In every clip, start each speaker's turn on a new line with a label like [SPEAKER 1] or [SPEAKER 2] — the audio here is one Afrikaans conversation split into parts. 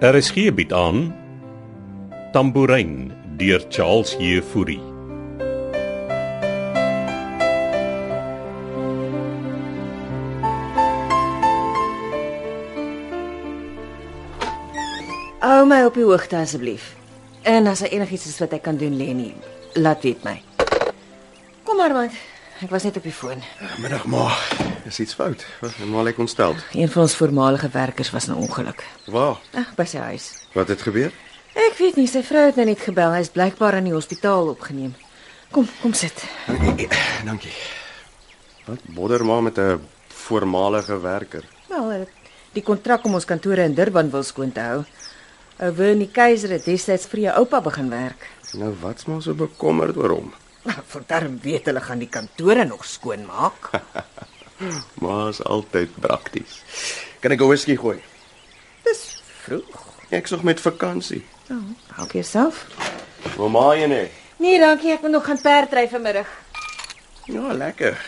[SPEAKER 1] RSG bied Er aan Tambourin deur Charles Jefouri.
[SPEAKER 2] Hou my op die hoogte asseblief. En as daar enigiets is wat ek kan doen, Lenny, laat weet my. Kom maar man. Ek was net op die foon.
[SPEAKER 3] Middag ma, is iets fout. Maar ek ontstel.
[SPEAKER 2] Een van ons voormalige werkers was in 'n ongeluk.
[SPEAKER 3] Waar?
[SPEAKER 2] Ag, by sy huis.
[SPEAKER 3] Wat het gebeur?
[SPEAKER 2] Ek weet nie, sy vrou het nou net gebel. Hy's blykbaar in die hospitaal opgeneem. Kom, kom sit.
[SPEAKER 3] Nou, Dankie. Wat bodder maar met 'n voormalige werker.
[SPEAKER 2] Wel, eh, die kontrak om ons kantore in Durban wil skoon te hou. Ou Wernie Keiser het destyds vir jou oupa begin werk.
[SPEAKER 3] Nou wat's maar so bekommerd oor hom?
[SPEAKER 2] Voordarm Nou, weet hulle gaan die kantore nog skoon maak.
[SPEAKER 3] Ma's altyd prakties. Kan ek 'n whisky gooi?
[SPEAKER 2] Dis vroeg.
[SPEAKER 3] Ek's nog met vakansie.
[SPEAKER 2] Nou, maak jouself.
[SPEAKER 3] Wil ma een hê?
[SPEAKER 2] Nee, dankie, ek moet nog gaan perdry vanmiddag.
[SPEAKER 3] Ja, lekker.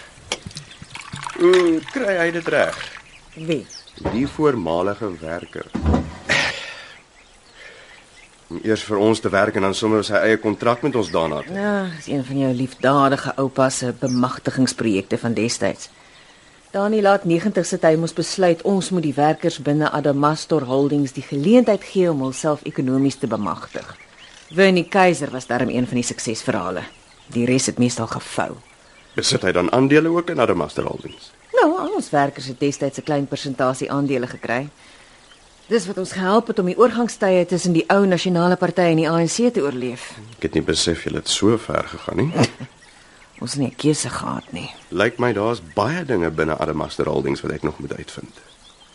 [SPEAKER 3] Ooh, kry hy dit reg?
[SPEAKER 2] Wie?
[SPEAKER 3] Die voormalige werker. Ehm. Om eers vir ons te werk en dan sommer sy eie kontrak met ons daarna. te-
[SPEAKER 2] Nou, dis een van jou liefdadige oupa se bemagtigingsprojekte van destyds. Daan die laat 90 sit hy moes besluit ons moet die werkers binne Adamastor Holdings die geleentheid gee om hulself ekonomies te bemagtig. Winnie Keiser was daarom een van die suksesverhale. Die res het meestal gefou.
[SPEAKER 3] Besit hy dan aandele ook in Adamaster Holdings?
[SPEAKER 2] Nou, al ons werkers het destyds 'n klein persentasie aandele gekry. Dis wat ons gehelp het om die oorgangstye tussen die ou nasionale party en die ANC te oorleef.
[SPEAKER 3] Ek het nie besef jy het so ver gegaan nie.
[SPEAKER 2] Ons het nie 'n keuse gehad nie.
[SPEAKER 3] Lyk my daar's baie dinge binne Adamaster Holdings wat ek nog moet uitvind.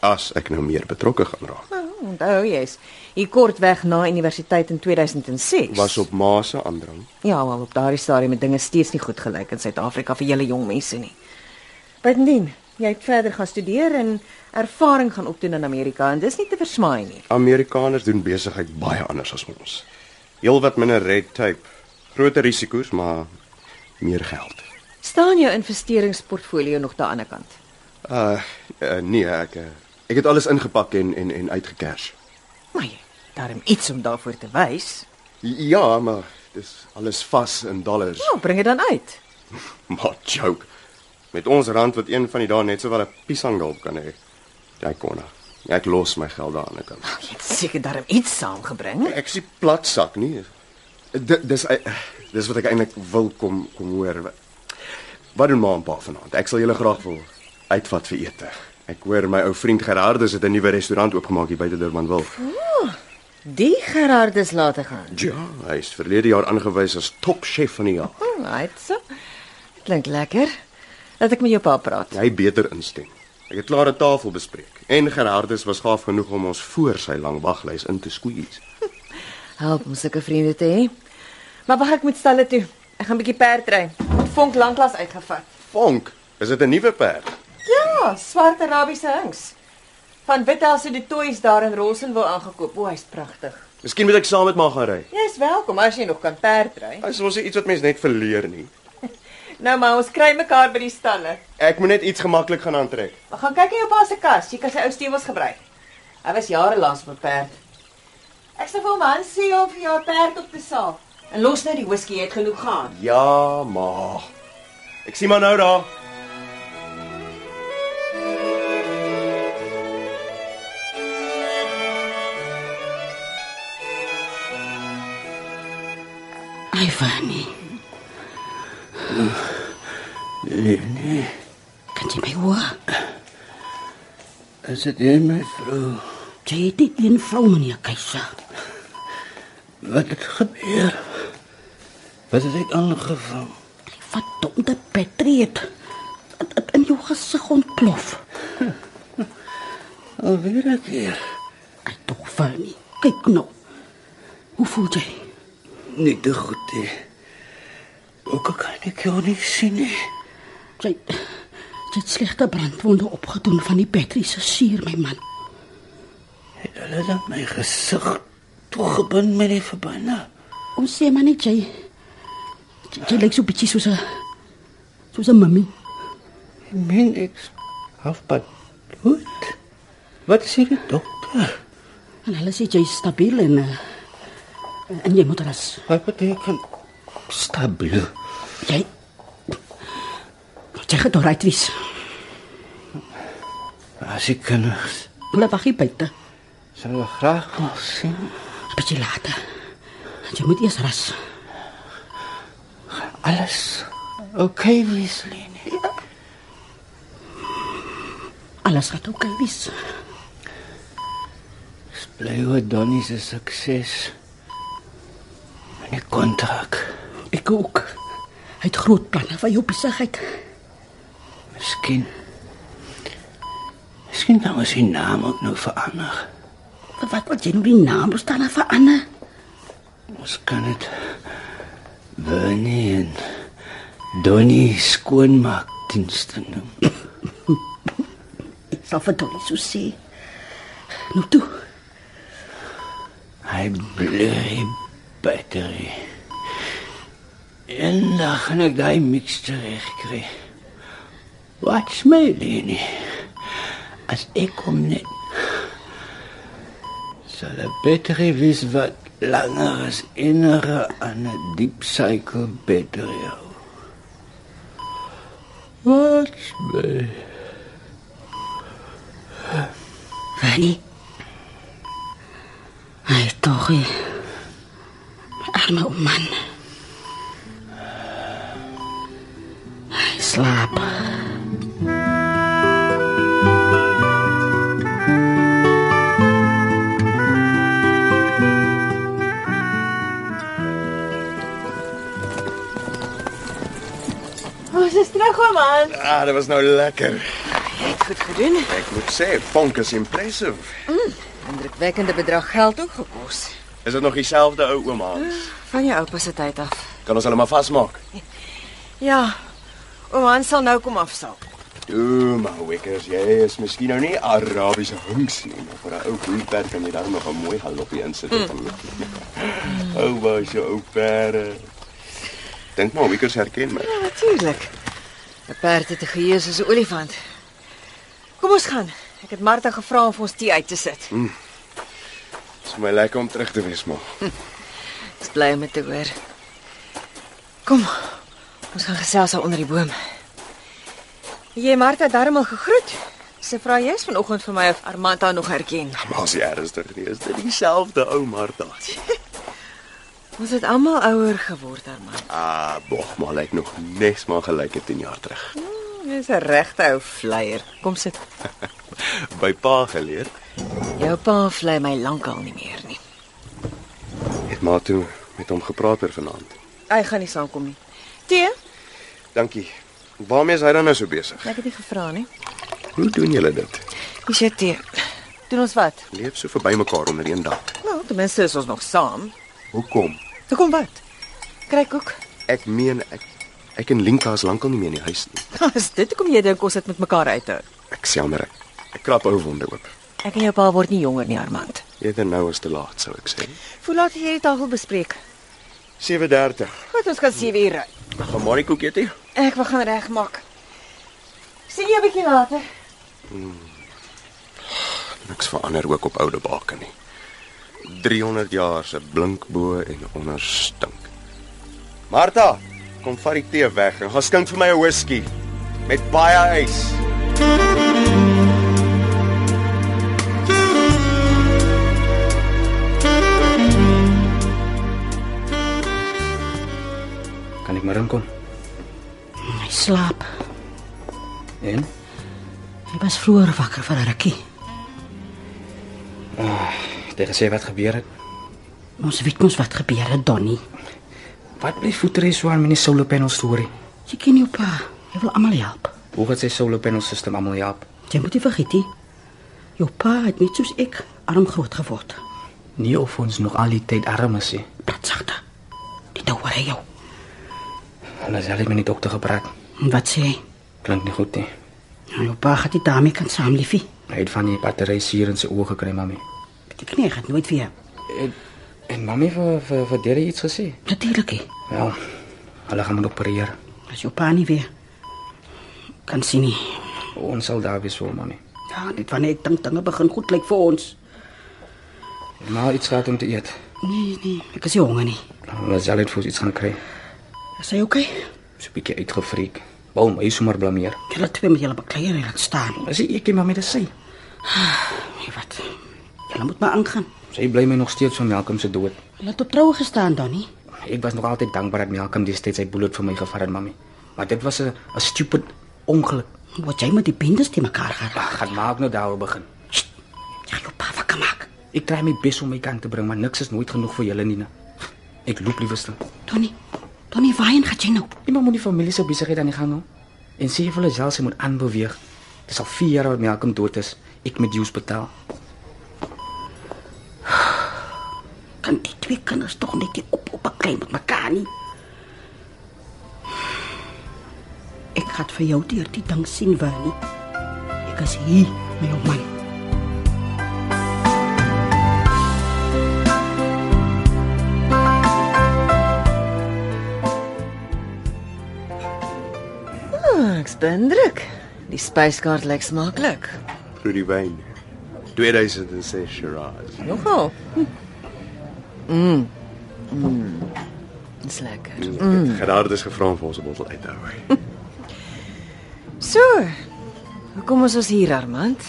[SPEAKER 3] As ek nou meer betrokke gaan raak.
[SPEAKER 2] Nou, onthou jy's hier kortweg na universiteit in 2006.
[SPEAKER 3] Was op ma se aandrang.
[SPEAKER 2] Ja, wel op daardie stadium het dinge steeds nie goed gelyk in Suid-Afrika vir julle jong mense nie. Buitendien, jy het verder gaan studeer en ervaring gaan opdoen in Amerika en dis nie te versmaai nie.
[SPEAKER 3] Amerikaners doen besigheid baie anders as ons. Heelwat minder red tape, groter risiko's, maar meer geld.
[SPEAKER 2] Staan jou investeringsportfolio nog daan die ander kant?
[SPEAKER 3] Uh, uh nee, ek uh, ek het alles ingepak en en en uitgekers.
[SPEAKER 2] Maar jy, daarom iets om daarvoor te wys.
[SPEAKER 3] Ja, maar dis alles vas in dollars.
[SPEAKER 2] Nou, bring dit dan uit.
[SPEAKER 3] Maar joke. Met ons rand wat een van die dae net sowel 'n piesangdolp kan hê. Jy kon. Ek los my geld daar aan die kant.
[SPEAKER 2] Jy het seker daarom iets saamgebring.
[SPEAKER 3] Ek sien platsak nie. Dit dis ei- dis wat ek eintlik wil kom kom hoor. Wat- Wat doen ma en pa vanaand? Ek sal julle graag wil uitvat vir ete. Ek hoor my ou vriend Gerardus het 'n nuwe restaurant oopgemaak hier buite Durbanville.
[SPEAKER 2] Die Gerardus laat gaan.
[SPEAKER 3] Ja, hy is verlede jaar aangewys as topchef van die jaar.
[SPEAKER 2] Right so. Klink lekker. Laat ek met jou pa praat.
[SPEAKER 3] Hy beter instem. Ek het klaar 'n tafel bespreek en Gerardus was gaaf genoeg om ons voor sy lang waglys in te squeeze.
[SPEAKER 2] Help om sulke vriende te hê. Maar wag ek moet stalle toe. Ek gaan 'n bietjie perdry. Vonk lanklaas uitgevat.
[SPEAKER 3] Vonk, is dit 'n nuwe perd?
[SPEAKER 2] Ja, swart Arabiese hings. Van Withels het die toys daar in Rosenwil aangekoop. O, hy's pragtig.
[SPEAKER 3] Miskien moet ek saam met ma gaan ry.
[SPEAKER 2] Jy's welkom as jy nog kan perdry.
[SPEAKER 3] As ons iets wat mens net verleer nie.
[SPEAKER 2] Nou maar, ons kry mekaar by die stalle.
[SPEAKER 3] Ek moet net iets gemaklik gaan aantrek.
[SPEAKER 2] Maar gaan kyk in jou pa se kas. Jy kan sy ou stewels gebruik. Hy was jare lank op 'n perd. Ek sê vir hom, "Han, sê hom vir jou 'n perd op te saal." En los nou die whisky, jy het genoeg gehad.
[SPEAKER 3] Ja, ma. Ek sien maar nou daar.
[SPEAKER 4] Ai, Fanny.
[SPEAKER 5] Leni,
[SPEAKER 4] Kan jy my hoor?
[SPEAKER 5] is dit jy my vrou?
[SPEAKER 4] Jy het dit in vrou meneer Keiser.
[SPEAKER 5] Wat het gebeur? Wat het ek aangevang?
[SPEAKER 4] Die verdomde Petrie het het- het in jou gesig ontplof.
[SPEAKER 5] Alweer 'n keer.
[SPEAKER 4] Ai, tog Fanny. Kyk nou. Hoe voel jy?
[SPEAKER 5] Nie te goed nie. Ook kan ek jou nie sien nie.
[SPEAKER 4] Jy jy het slegte brandwonde opgedoen van die Petrie se suur, my man.
[SPEAKER 5] Het hulle dan my gesig toegebind met die verbande?
[SPEAKER 4] Ons sê maar net jy jy, jy lyk so bietjie soos 'n soos 'n mummy.
[SPEAKER 5] Ek meen ek halfpad. Goed. Wat sê die dokter?
[SPEAKER 4] En hulle sê jy's stabiel en eh, en jy moet rus.
[SPEAKER 5] Wat beteken stabiel?
[SPEAKER 4] Jy Jy gaan dooruit wees.
[SPEAKER 5] As ek kinders
[SPEAKER 4] Hulle wag hier buite.
[SPEAKER 5] sal hulle graag wil sien.
[SPEAKER 4] 'n Bietjie later. Jy moet eers rus.
[SPEAKER 5] Alles okay wees, Leni.
[SPEAKER 4] Alles gaan oukei okay wees.
[SPEAKER 5] Dis bly oor Donnie se sukses. En die kontrak.
[SPEAKER 4] Ek ook. Hy het groot planne vir jou besigheid.
[SPEAKER 5] Miskien. Miskien dan is die naam ook nou verander.
[SPEAKER 4] Vir wat wil jy nou die naam staan en verander?
[SPEAKER 5] Ons kan dit Bernie en Donnie skoonmaakdienste noem.
[SPEAKER 4] Ek sal vir Donnie so sê. Nou toe,
[SPEAKER 5] Hy bly battery. En dan gaan ek daai mixture regkry. Watch my Leni. As ek kom net sal 'n battery wees wat langer as enige aan 'n deep cycle battery hou. Watch my.
[SPEAKER 4] Fanny. Hy is tog hier. Arme ou man. Hy slaap.
[SPEAKER 2] Ons Oh, is terug hom aan.
[SPEAKER 3] Ah, dit was nou lekker.
[SPEAKER 2] Jy het goed gedoen.
[SPEAKER 3] Ek moet sê, Fonk is impressive.
[SPEAKER 2] Indrukwekkende bedrag geld ook gekos.
[SPEAKER 3] Is dit nog dieselfde ou oom Hans?
[SPEAKER 2] Van jou oupa se tyd af.
[SPEAKER 3] Kan ons hulle maar vasmaak?
[SPEAKER 2] Ja. Oom Hans sal nou kom afsaal.
[SPEAKER 3] Toe, maar Wickers, jy is miskien nou nie Arabiese hinks nie, maar vir 'n ou boerperd kan jy daar nog 'n mooi galopie insit. Mm. ou was jou ou perde. Dink maar, Wickers herken my.
[SPEAKER 2] Ja, natuurlik. 'n Perd het 'n geheue soos 'n olifant. Kom ons gaan. Ek het Martha gevra om vir ons tee uit te sit.
[SPEAKER 3] Dit is vir my lekker om terug te wees, maar.
[SPEAKER 2] Ek's bly om dit te hoor. Kom. Ons gaan gesels daar onder die boom. Jy Martha darmal gegroet. Sy vra jy's vanoggend vir my of Armand haar nog herken.
[SPEAKER 3] Maar as jy ernstig nie is, dit dieselfde ou Martha.
[SPEAKER 2] Ons het almal ouer geword, Armand.
[SPEAKER 3] Ah, bog, maar lyk nog nes maar gelyk het 10 jaar terug.
[SPEAKER 2] Jy's 'n regte ou vleier. Kom sit.
[SPEAKER 3] By pa geleer.
[SPEAKER 2] Jou pa vlei my lankal nie meer nie.
[SPEAKER 3] Het maar toe met hom gepraat oor vanaand.
[SPEAKER 2] Hy gaan nie saamkom nie. Tee?
[SPEAKER 3] Dankie. Waarmee is hy dan nou so besig?
[SPEAKER 2] Ek het nie gevra nie.
[SPEAKER 3] Hoe doen julle dit?
[SPEAKER 2] Dis jou tee. Doen ons wat?
[SPEAKER 3] Leef so verby mekaar onder een dak.
[SPEAKER 2] Nou, ten minste is ons nog saam.
[SPEAKER 3] Hoekom?
[SPEAKER 2] Toe kom wat? Kry koek.
[SPEAKER 3] Ek meen ek ek en Linka is lankal nie meer in die huis nie.
[SPEAKER 2] As dit hoekom jy dink ons het met mekaar uithou.
[SPEAKER 3] Ek jammer ek. Ek krap ou wonde oop.
[SPEAKER 2] Ek en jou pa word nie jonger nie, Armand.
[SPEAKER 3] Eerder nou as te laat sou ek sê.
[SPEAKER 2] Hoe laat het jy die tafel bespreek?
[SPEAKER 3] 7:30.
[SPEAKER 2] Wat ons kan 7 uur ry.
[SPEAKER 3] Gaan maar die koek eet jy?
[SPEAKER 2] Ek wil gaan regmaak. Sien jou 'n bietjie later.
[SPEAKER 3] Niks verander ook op oude baken nie. 300 jaar se blink bo en onder stink. Martha, kom vat die tee weg en gaan skink vir my 'n whisky met baie ys.
[SPEAKER 5] Kan ek maar inkom?
[SPEAKER 4] Hy slaap.
[SPEAKER 5] En
[SPEAKER 4] Hy was vroeër wakker vir 'n rukkie.
[SPEAKER 5] het jy gesê wat gebeur het?
[SPEAKER 4] Ons weet mos wat gebeur het, Donnie.
[SPEAKER 5] Wat bly voetery so aan myne solar panel storie?
[SPEAKER 4] Jy ken jou pa. Hy wil almal help.
[SPEAKER 5] Hoe gaan sy solar panel system almal help?
[SPEAKER 4] Jy moet nie vergeet nie. Jou pa het net soos ek arm groot geword.
[SPEAKER 5] Nie of ons nog al die tyd arm is nie.
[SPEAKER 4] Praat sagter. Dit hoor hy jou.
[SPEAKER 5] Hulle sê hulle het met die dokter gepraat.
[SPEAKER 4] En wat sê hy?
[SPEAKER 5] Klink nie goed nie.
[SPEAKER 4] Nou, jou pa gaan dit daarmee kan saamliefie.
[SPEAKER 5] Hy het van die battery seer in sy oë gekry, mami.
[SPEAKER 4] Beteken nie hy gaan nooit weer.
[SPEAKER 5] En, en mami vir vir, vir deur iets gesê.
[SPEAKER 4] Natuurlik. hè.
[SPEAKER 5] Wel, hulle gaan moet opereer.
[SPEAKER 4] As jou pa nie weer kan sien nie.
[SPEAKER 5] Ons sal daar wees vir hom, mami.
[SPEAKER 4] Ja, dit wanneer ek dink dinge begin goed lyk vir ons.
[SPEAKER 6] Maar iets gehad om te eet.
[SPEAKER 4] Nee, nee, ek is nie honger nie.
[SPEAKER 6] Laat sal dit vir ons iets gaan kry.
[SPEAKER 4] Is jy okay?
[SPEAKER 6] So 'n bietjie uitgevreek. Wou my sommer blameer.
[SPEAKER 4] Julle twee met julle bekleier en laat staan.
[SPEAKER 6] As ek ekie maar met dit sê.
[SPEAKER 4] Nee, wat? Julle moet maar aangaan.
[SPEAKER 6] Sy bly my nog steeds van Melkom se dood.
[SPEAKER 4] Hulle het op troue gestaan dan nie.
[SPEAKER 6] Ek was nog altyd dankbaar dat Melkom destyds sy bullet vir my gevat het, mami. Maar dit was 'n 'n stupid ongeluk.
[SPEAKER 4] Wat jy met die bendes te mekaar geraak.
[SPEAKER 6] Ag, gaan maak nou daaroor begin.
[SPEAKER 4] Ja, jou pa wakker maak.
[SPEAKER 6] Ek try my bes om my kant te bring, maar niks is nooit genoeg vir julle nie. ne. Ek loop liewerste.
[SPEAKER 4] Donnie. Donnie, waarheen gaan jy nou?
[SPEAKER 6] Iemand moet die familie se besigheid aan die gang hou. En sê vir hulle self sy moet aanbeweeg. Dit is al 4 jaar wat Melkom dood is. Ek moet dues betaal.
[SPEAKER 4] Kan die twee kinders tog net nie op op beklei met mekaar nie? Ek gaan vir jou deur die ding sien, Winnie. Ek is hier met jou man.
[SPEAKER 2] Ah, ek's beïndruk. Die spyskaart lyk smaaklik.
[SPEAKER 3] Rudy Wyn. 2006 Shiraz.
[SPEAKER 2] Nogal. Hm. Mm. Dis lekker.
[SPEAKER 3] Mm. Gerard is gevra om vir ons 'n bottel uit te hou.
[SPEAKER 2] So. Hoekom is ons hier, Armand?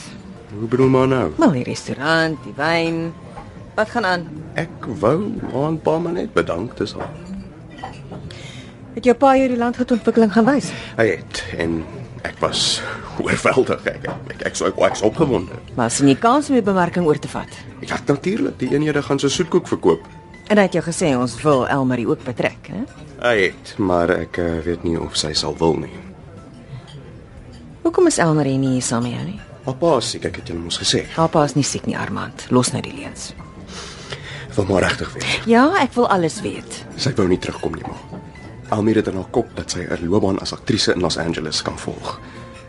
[SPEAKER 3] Hoe bedoel maar nou?
[SPEAKER 2] Wel, die restaurant, die wyn. Wat gaan aan?
[SPEAKER 3] Ek wou haar 'n paar maar net bedank dis al.
[SPEAKER 2] Het jou pa jou die landgoedontwikkeling gaan wys?
[SPEAKER 3] Hy het en ek was oorweldig. Ek ek ek sou ek was opgewonde.
[SPEAKER 2] Maar sien jy kans om die bemarking oor te vat?
[SPEAKER 3] Ek het natuurlik die eenhede gaan so soetkoek verkoop.
[SPEAKER 2] En hy het jou gesê ons wil Elmarie ook betrek, hè?
[SPEAKER 3] Hy het, maar ek eh, weet nie of sy sal wil nie.
[SPEAKER 2] Hoekom is Elmarie nie hier saam met jou nie?
[SPEAKER 3] Papa, siek ek het julle mos gesê.
[SPEAKER 2] Haar pa is nie siek nie, Armand. Los nou die leuns.
[SPEAKER 3] Ek wil maar regtig weet.
[SPEAKER 2] Ja, ek wil alles weet.
[SPEAKER 3] Sy wou nie terugkom nie, maar. Almira het in haar kop dat sy 'n loopbaan as aktrise in Los Angeles kan volg.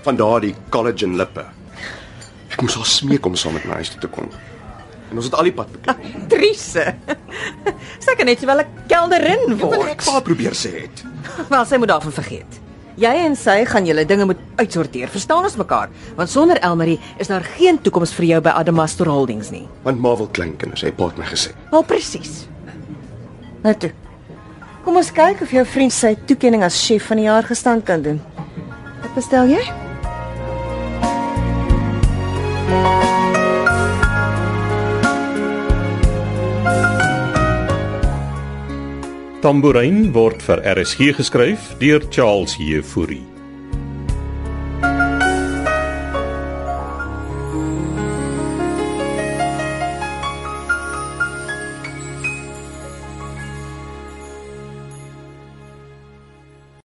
[SPEAKER 3] Van daardie collagen lippe. Ek moes haar smeek om saam met my huis toe te kom. En ons het al die pad beklim.
[SPEAKER 2] Trise. Sy kan net wel 'n kelderin
[SPEAKER 3] Wat ek pa probeer sê het.
[SPEAKER 2] Ja, Wel, sy moet daarvan vergeet. Jy en sy gaan julle dinge moet uitsorteer. Verstaan ons mekaar? Want sonder Elmarie is daar geen toekoms vir jou by Adamastor Holdings nie.
[SPEAKER 3] Want Marvel kleinkinders, hy pa het my gesê.
[SPEAKER 2] Wel presies. Nou toe. Kom ons kyk of jou vriend sy toekenning as chef van die jaar gestand kan doen. Wat bestel jy?
[SPEAKER 1] Tambourin word vir RSG geskryf deur Charles Heffury.